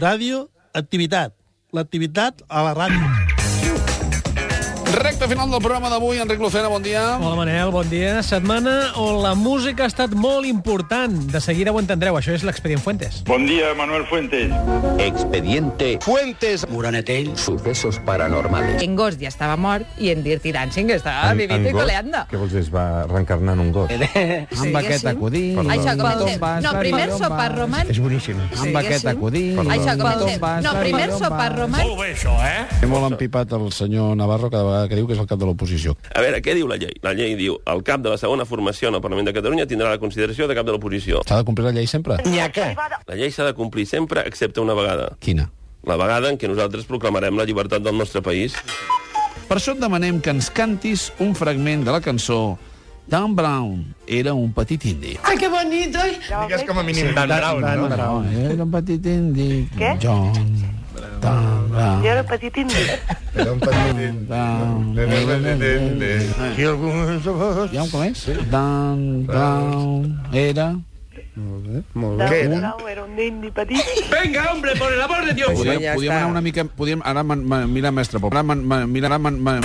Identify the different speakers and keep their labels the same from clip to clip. Speaker 1: ràdio, activitat. L'activitat a la ràdio.
Speaker 2: Recte final del programa d'avui. Enric Lucena, bon dia.
Speaker 3: Hola, Manel, bon dia. Setmana on la música ha estat molt important. De seguida ho entendreu, això és l'Expedient Fuentes.
Speaker 4: Buen día, Manuel Fuentes.
Speaker 5: Expediente
Speaker 2: Fuentes.
Speaker 5: Moronetell. Sucesos paranormales.
Speaker 6: En Ghost ja estava mort i en Dirty Dancing estava vivit i coleando.
Speaker 7: Què vols dir? Es va reencarnar en un gos.
Speaker 6: Sí, amb aquest acudit. Això comencem. No, primer sopar roman.
Speaker 8: És boníssim.
Speaker 6: Amb aquest acudit. Això comencem. No, primer sopar roman.
Speaker 4: bé, això, eh?
Speaker 8: Té molt empipat el senyor Navarro cada vegada que diu que és el cap de l'oposició.
Speaker 9: A veure, què diu la llei? La llei diu el cap de la segona formació en el Parlament de Catalunya tindrà la consideració de cap de l'oposició.
Speaker 8: S'ha de complir la llei sempre?
Speaker 9: La llei s'ha de complir sempre, excepte una vegada.
Speaker 8: Quina?
Speaker 9: La vegada en què nosaltres proclamarem la llibertat del nostre país.
Speaker 2: Per això et demanem que ens cantis un fragment de la cançó Dan Brown era un petit indi.
Speaker 10: ¡Ay, qué bonito!
Speaker 4: Digues com a mínim Dan Brown, no?
Speaker 8: Brown era un petit indi. Què? John. Dan Brown.
Speaker 10: Yo era petitín.
Speaker 4: Era un petit...
Speaker 8: I algú... Ja, com és? Dan Brown era...
Speaker 4: Què era?
Speaker 10: No, era un indi petit.
Speaker 9: Venga, hombre, por el amor de Dios!
Speaker 2: Podíem, ja podíem anar una mica... Podíem, ara, man, man, mira, mestre Pop. Ara, man, man, mira, ara, man, man,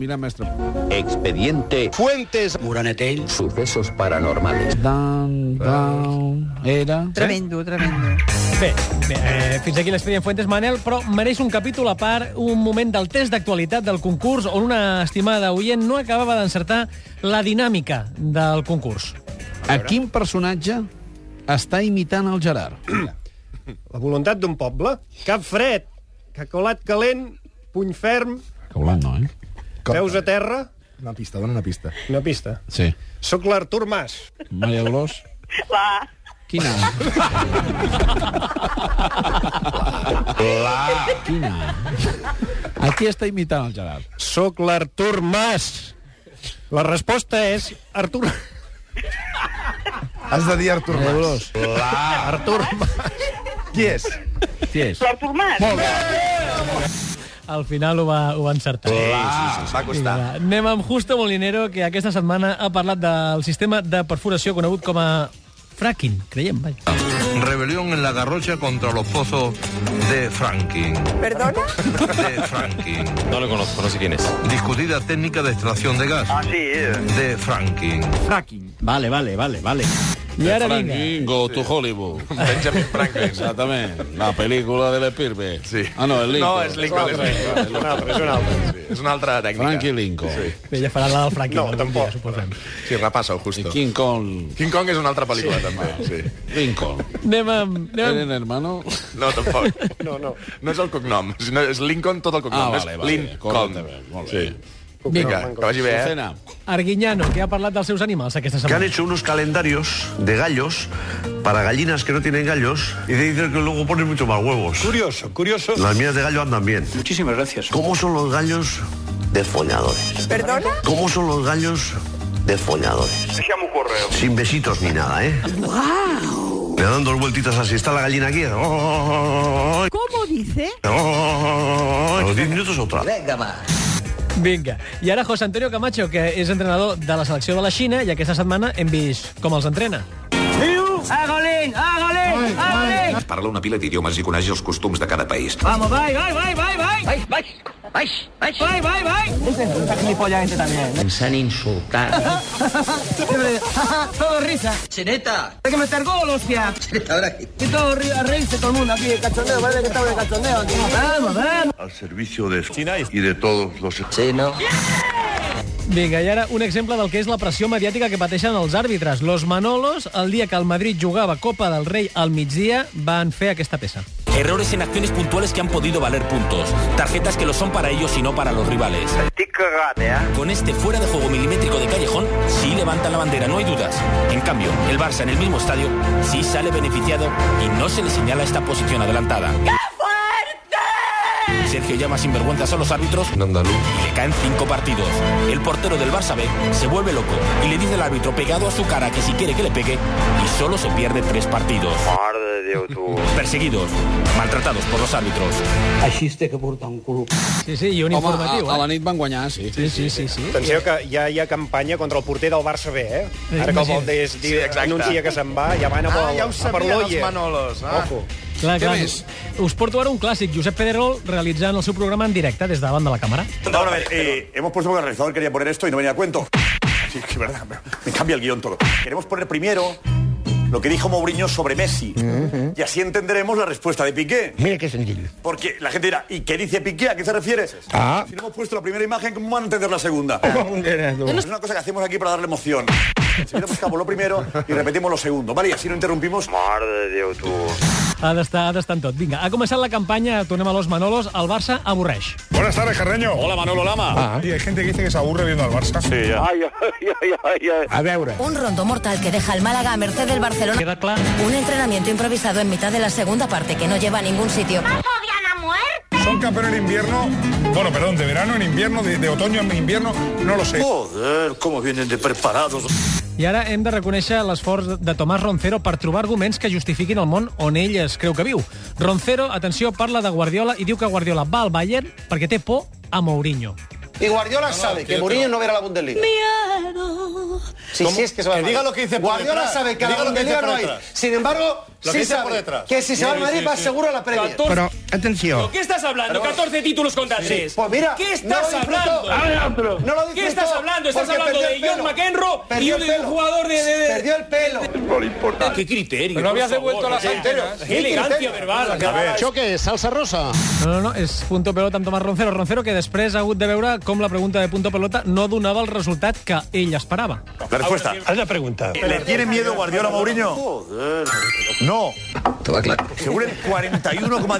Speaker 2: mira, mestre Pop.
Speaker 5: Expediente
Speaker 2: Fuentes.
Speaker 5: Moronetell. Sucesos paranormales.
Speaker 8: Dan Brown era...
Speaker 6: Tremendo, tremendo.
Speaker 3: Bé, bé eh, fins aquí l'Expedient Fuentes, Manel, però mereix un capítol a part, un moment del test d'actualitat del concurs on una estimada oient no acabava d'encertar la dinàmica del concurs.
Speaker 2: A quin personatge està imitant el Gerard?
Speaker 11: La voluntat d'un poble. Cap fred, cacolat calent, puny ferm,
Speaker 8: Caulant, no, eh?
Speaker 11: peus a terra...
Speaker 7: Una pista, dona una pista.
Speaker 11: Una pista.
Speaker 2: Sí.
Speaker 11: Soc l'Artur Mas.
Speaker 2: Maria Dolors.
Speaker 10: Va.
Speaker 2: Quina? La. Quina? A qui està imitant el Gerard?
Speaker 11: Soc l'Artur Mas. La resposta és Artur...
Speaker 7: Has de dir Artur Mas.
Speaker 11: Artur Mas.
Speaker 7: Qui és?
Speaker 2: Qui és?
Speaker 10: L'Artur Mas.
Speaker 3: Al final ho va, ho va encertar.
Speaker 7: Ah, va costar.
Speaker 3: Va, Anem amb Justo Molinero, que aquesta setmana ha parlat del sistema de perforació conegut com a fracking, creiem, vaja.
Speaker 9: Rebelión en la garrocha contra los pozos de Franklin.
Speaker 6: Perdona?
Speaker 9: De Franklin. No lo conozco, no sé quién es. Discutida técnica de extracción de gas. Ah, sí.
Speaker 5: eh.
Speaker 9: De Franklin.
Speaker 5: Vale, vale, vale, vale.
Speaker 3: I ara vinga.
Speaker 2: Go to Hollywood.
Speaker 4: Benjamin Franklin.
Speaker 2: Exactament. La pel·lícula de l'Espirbe.
Speaker 4: Sí.
Speaker 2: Ah, no, el Lincoln. Ah,
Speaker 4: No, és Lincoln, és Lincoln. És un altre, és un altre. És una altra tècnica.
Speaker 2: Frankie Lincoln. Sí.
Speaker 3: Bé, ja farà la del fracking.
Speaker 4: No,
Speaker 3: algun
Speaker 4: tampoc.
Speaker 3: Dia, suposem.
Speaker 4: Sí, repassa-ho,
Speaker 2: I
Speaker 4: justo.
Speaker 2: King Kong.
Speaker 4: King Kong és una altra pel·lícula, sí. també. Sí.
Speaker 2: Lincoln.
Speaker 3: Anem amb...
Speaker 5: Eh.
Speaker 3: Anem amb...
Speaker 2: Eren hermano.
Speaker 4: No, tampoc. No, no. No és el cognom. sinó És Lincoln tot el cognom.
Speaker 2: Ah,
Speaker 4: és
Speaker 2: vale, vale.
Speaker 4: Lincoln.
Speaker 2: Correcte, bé, molt bé.
Speaker 4: Sí. Vinga, que vagi bé, eh?
Speaker 2: Lucena,
Speaker 3: Arguiñano, que ha parlat dels seus animals aquesta
Speaker 9: Que han
Speaker 3: setmana.
Speaker 9: hecho unos calendarios de gallos para gallinas que no tienen gallos y dicen que luego ponen mucho más huevos.
Speaker 11: Curioso, curioso.
Speaker 9: Las mías de gallo andan bien. Muchísimas gracias. ¿Cómo son los gallos desfolladores?
Speaker 6: Perdona?
Speaker 9: ¿Cómo son los gallos desfolladores? Sin besitos ni nada, ¿eh? Le dan dos vueltitas así. Está la gallina aquí.
Speaker 6: ¿Cómo dice?
Speaker 9: A los 10 minutos otra.
Speaker 3: Vinga. I ara José Antonio Camacho, que és entrenador de la selecció de la Xina, i aquesta setmana hem vist com els entrena.
Speaker 5: Agolín, agolín, agolín.
Speaker 9: Parla una pila d'idiomes i coneix els costums de cada país.
Speaker 5: Vamos, vai, vai, vai, vai, vai. Vai, vai, vai, vai, vai, vai, Ens han insultat.
Speaker 10: Todo risa.
Speaker 5: Chineta,
Speaker 10: Hay que meter gol, hostia.
Speaker 5: ahora que
Speaker 10: Y todo ri- a reírse todo el mundo aquí, de cachondeo. Parece que estamos de cachondeo aquí. Vamos, vamos.
Speaker 9: Al servicio de China y de todos los...
Speaker 5: Sí, no?
Speaker 3: Vinga, i ara un exemple del que és la pressió mediàtica que pateixen els àrbitres. Los Manolos, el dia que el Madrid jugava Copa del Rei al migdia, van fer aquesta peça.
Speaker 5: Errores en acciones puntuales que han podido valer puntos. Tarjetas que lo son para ellos y no para los rivales. Con este fuera de juego milimétrico de Callejón, sí levantan la bandera, no hay dudas. En cambio, el Barça en el mismo estadio sí sale beneficiado y no se le señala esta posición adelantada. Sergio llama sinvergüenzas a los árbitros y le caen cinco partidos. El portero del Barça B se vuelve loco y le dice al árbitro pegado a su cara que si quiere que le pegue y solo se pierde tres partidos. Perseguidos, maltratados por los árbitros.
Speaker 3: Sí, sí, i
Speaker 2: Home,
Speaker 3: un
Speaker 2: a,
Speaker 3: informatiu.
Speaker 2: a
Speaker 3: eh?
Speaker 2: la nit van guanyar, sí.
Speaker 3: Sí, sí, sí, sí.
Speaker 11: Atenció que ja hi ha campanya contra el porter del Barça B, eh? Ara que el Valdés sí,
Speaker 4: exacte.
Speaker 11: anuncia que se'n va, ja van a,
Speaker 4: Ah,
Speaker 11: vol-
Speaker 4: ja ho
Speaker 11: a per
Speaker 4: sabien els
Speaker 11: l'Oye.
Speaker 4: Manolos. Ah.
Speaker 11: Ojo.
Speaker 3: Clar,
Speaker 12: Què
Speaker 3: clar.
Speaker 12: més?
Speaker 3: Us porto ara un clàssic. Josep Pedrerol realitzant el seu programa en directe des de davant de la càmera.
Speaker 5: Vamos a ver, eh, hemos puesto que el realizador quería poner esto y no venía a cuento. Sí, es que es verdad, me- me cambia el guión todo. Queremos poner primero lo que dijo Mourinho sobre Messi. Y así entenderemos la respuesta de Piqué.
Speaker 13: Mira qué sencillo.
Speaker 5: Porque la gente dirá, ¿y qué dice Piqué? ¿A qué se refiere?
Speaker 13: Ah. Oh,
Speaker 5: Si no hemos puesto la primera imagen, ¿cómo van a entender la segunda? Es una cosa que hacemos aquí para darle emoción. Si hubiéramos acabado lo primero y repetimos lo segundo, ¿vale? Y así no interrumpimos. Madre de Dios, tú.
Speaker 3: Ha d'estar ha d'estar en tot. Vinga, ha començat la campanya, tornem a los Manolos, el Barça avorreix.
Speaker 9: Buenas tardes, Carreño.
Speaker 5: Hola, Manolo Lama.
Speaker 9: Y Ah. hay gente que dice que se aburre viendo al Barça.
Speaker 5: Sí, ya.
Speaker 9: A veure.
Speaker 6: Un rondo mortal que deja al Málaga a merced del Barcelona.
Speaker 3: Queda clar.
Speaker 6: Un entrenamiento improvisado en mitad de la segunda parte que no lleva a ningún sitio.
Speaker 9: Son campeones en invierno. Bueno, perdón, de verano en invierno, de, de otoño en invierno, no lo sé.
Speaker 5: Joder, cómo vienen de preparados.
Speaker 3: I ara hem de reconèixer l'esforç de Tomàs Roncero per trobar arguments que justifiquin el món on ell es creu que viu. Roncero, atenció, parla de Guardiola i diu que Guardiola va al Bayern perquè té por a Mourinho.
Speaker 14: Y Guardiola sabe que Mourinho no verá la Bundesliga. Sí, sí, es que se va al
Speaker 5: Que
Speaker 14: Madrid.
Speaker 5: diga lo que dice por
Speaker 14: Guardiola
Speaker 5: detrás.
Speaker 14: sabe que
Speaker 5: Que
Speaker 14: a la
Speaker 5: diga lo que dice
Speaker 14: Bundesliga no
Speaker 5: por
Speaker 14: hay.
Speaker 5: detrás.
Speaker 14: Sin embargo,
Speaker 5: Lo que
Speaker 14: sí
Speaker 5: dice por
Speaker 14: sabe
Speaker 5: detrás.
Speaker 14: que si se va al
Speaker 5: Sí,
Speaker 14: Madrid
Speaker 5: sí,
Speaker 14: va
Speaker 5: sí.
Speaker 14: seguro a la Premier.
Speaker 13: Però, atenció.
Speaker 15: ¿Qué estás hablando? 14 títulos contra 3.
Speaker 14: Pues mira,
Speaker 15: ¿Qué estás
Speaker 14: no lo disfruto.
Speaker 15: hablando?
Speaker 14: Ah, pero- no lo
Speaker 15: ¿Qué
Speaker 14: disfruto
Speaker 15: estás hablando? Estás
Speaker 14: porque
Speaker 15: hablando
Speaker 14: perdió
Speaker 15: de
Speaker 14: el
Speaker 15: John
Speaker 14: pelo.
Speaker 15: McEnroe y
Speaker 14: Perdió
Speaker 15: un
Speaker 14: el pelo.
Speaker 15: jugador de... de- de-
Speaker 14: Perdió el pelo.
Speaker 15: No le importa. ¿Qué criterio?
Speaker 16: Pero no habías
Speaker 15: por favor,
Speaker 16: devuelto las
Speaker 15: o sea,
Speaker 16: antenas.
Speaker 15: Qué elegancia verbal.
Speaker 3: Choque, salsa rosa. No, no, no, és Punto Pelota amb Tomàs Roncero. Roncero que després ha hagut de veure com la pregunta de Punto Pelota no donava el resultat que ell esperava.
Speaker 5: La respuesta.
Speaker 3: Haz la pregunta.
Speaker 5: ¿Le tiene miedo Guardiola a Mourinho? Joder. No. Todo claro. Según el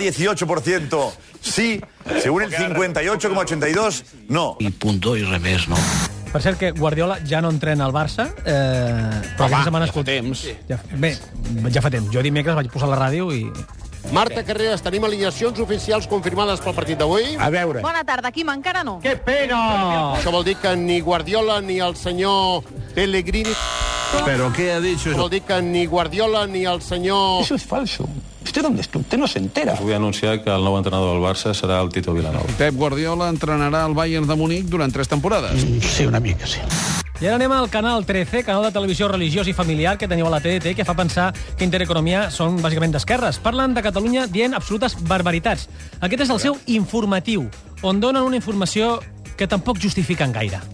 Speaker 5: 41,18%, sí. Según el 58,82%, no.
Speaker 13: Y punto y revés, ¿no?
Speaker 3: Per cert, que Guardiola ja no entrena al Barça, eh,
Speaker 13: Home,
Speaker 3: però aquesta setmana
Speaker 13: ja fa
Speaker 3: temps. Ja, bé, ja fa temps. Jo dimecres vaig posar la ràdio i...
Speaker 17: Marta Carreras, tenim alineacions oficials confirmades pel partit d'avui? A veure.
Speaker 18: Bona tarda, Quim, encara no. Que
Speaker 17: pena! Això vol dir que ni Guardiola ni el senyor Pellegrini...
Speaker 12: Però què ha dit?
Speaker 17: Vol dir que ni Guardiola ni el senyor...
Speaker 19: Eso es falso. ¿Usted dónde está? Usted no se entera. Os voy a anunciar que el nou entrenador del Barça serà el Tito Vilanova.
Speaker 12: Pep Guardiola entrenarà el Bayern de Múnich durant tres temporades. Sí, una mica, sí.
Speaker 3: I ara anem al Canal 13, canal de televisió religiós i familiar que teniu a la TDT, que fa pensar que Intereconomia són bàsicament d'esquerres. Parlen de Catalunya dient absolutes barbaritats. Aquest és el seu informatiu, on donen una informació que tampoc justifiquen gaire.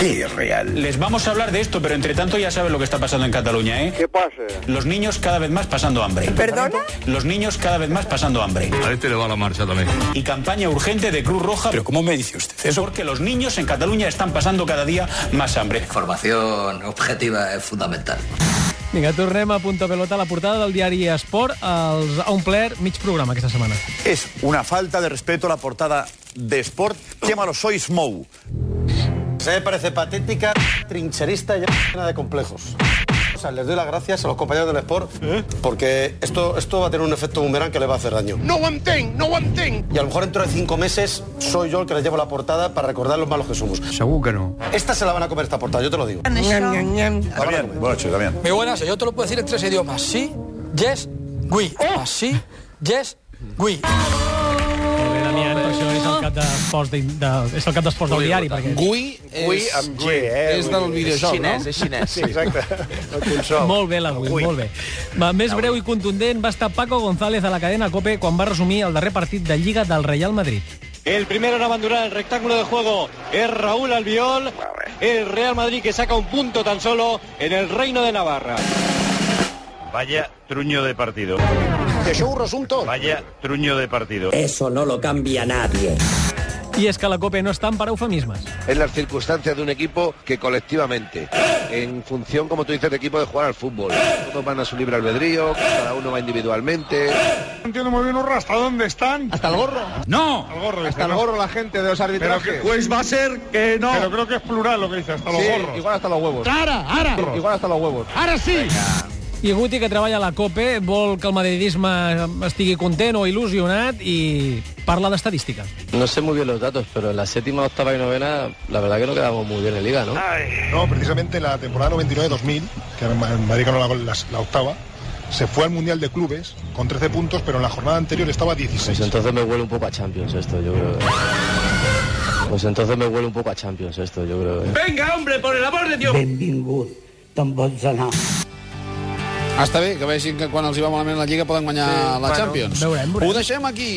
Speaker 19: Qué real. Les vamos a hablar de esto, pero entre tanto ya saben lo que está pasando en Cataluña, ¿eh? ¿Qué pasa? Los niños cada vez más pasando hambre. ¿Perdona? Los niños cada vez más pasando hambre. A este le va la marcha también. Y campaña urgente de Cruz Roja. ¿Pero cómo me dice usted eso? Porque los niños en Cataluña están pasando cada día más hambre. Formación objetiva es fundamental.
Speaker 3: Vinga, tornem a Punta Pelota, la portada del diari Esport, els ha omplert mig programa aquesta setmana.
Speaker 5: Es una falta de respeto a la portada de Sport. Llámalo Sois Mou.
Speaker 14: Se me parece patética, trincherista y llena de complejos. O sea, les doy las gracias a los compañeros del Sport porque esto, esto va a tener un efecto boomerang que les va a hacer daño.
Speaker 20: No one thing, no one thing.
Speaker 14: Y a lo mejor dentro de cinco meses soy yo el que les llevo la portada para recordar los malos que somos.
Speaker 13: Segur que no.
Speaker 14: Esta se la van a comer esta portada, yo te lo digo.
Speaker 5: Damián, buenas noches, Damián.
Speaker 21: Mi buenas, yo te lo puedo decir en tres idiomas. Sí, yes, we.
Speaker 1: Oh!
Speaker 21: Así, yes, we.
Speaker 3: Molt bé, Damián, per això és el cap d'esports de, de, és el cap d'esports del diari. Perquè...
Speaker 12: Gui
Speaker 3: Gui
Speaker 12: és,
Speaker 3: amb G, eh,
Speaker 12: és
Speaker 3: vull
Speaker 12: del
Speaker 3: dir,
Speaker 12: videojoc,
Speaker 3: és xinès,
Speaker 12: no?
Speaker 3: és xinès.
Speaker 12: Sí, exacte.
Speaker 3: Molt bé, la Gui, molt bé. Va, més breu i contundent va estar Paco González a la cadena COPE quan va resumir el darrer partit de Lliga del Real Madrid.
Speaker 22: El primero en abandonar el rectángulo de juego es Raúl Albiol. El Real Madrid que saca un punto tan solo en el Reino de Navarra.
Speaker 23: Vaya truño de partido.
Speaker 17: I això ho resum tot.
Speaker 23: Vaya truño de partido.
Speaker 22: Eso no lo cambia nadie.
Speaker 3: I és que la COPE no està en per eufemismes.
Speaker 2: Es las circunstancias de un equipo que colectivamente, en función, como tú dices, de equipo de jugar al fútbol, todos van a su libre albedrío, cada uno va individualmente.
Speaker 9: Entiendo muy bien, Urra, ¿hasta dónde están? ¿Hasta el gorro? ¡No! hasta el gorro la gente de los arbitrajes. pues va a ser que no. Pero creo que es plural lo que dice, hasta los gorros. igual hasta los huevos.
Speaker 3: Ara, ara.
Speaker 9: Igual hasta los huevos.
Speaker 3: Ara sí! I Guti, que treballa a la COPE, vol que el madridisme estigui content o il·lusionat i parla d'estadística.
Speaker 24: No sé muy bien los datos, pero en la séptima, octava y novena, la verdad que no quedamos muy bien en liga, ¿no?
Speaker 9: No, precisamente la temporada 99-2000, que en Madrid ganó la, la- la octava, se fue al Mundial de Clubes con 13 puntos, pero en la jornada anterior estaba a 16.
Speaker 24: Pues entonces me huele un poco a Champions esto, yo creo. Pues entonces me huele un poco a Champions esto, yo creo.
Speaker 20: Venga, hombre, por el amor de Dios. Benvingut, tan bon
Speaker 2: Està bé que vegin que quan els hi va malament la Lliga poden guanyar
Speaker 1: Sí,
Speaker 2: la
Speaker 1: bueno,
Speaker 2: Champions.
Speaker 1: veurem, veurem.
Speaker 2: Ah, Ho deixem aquí.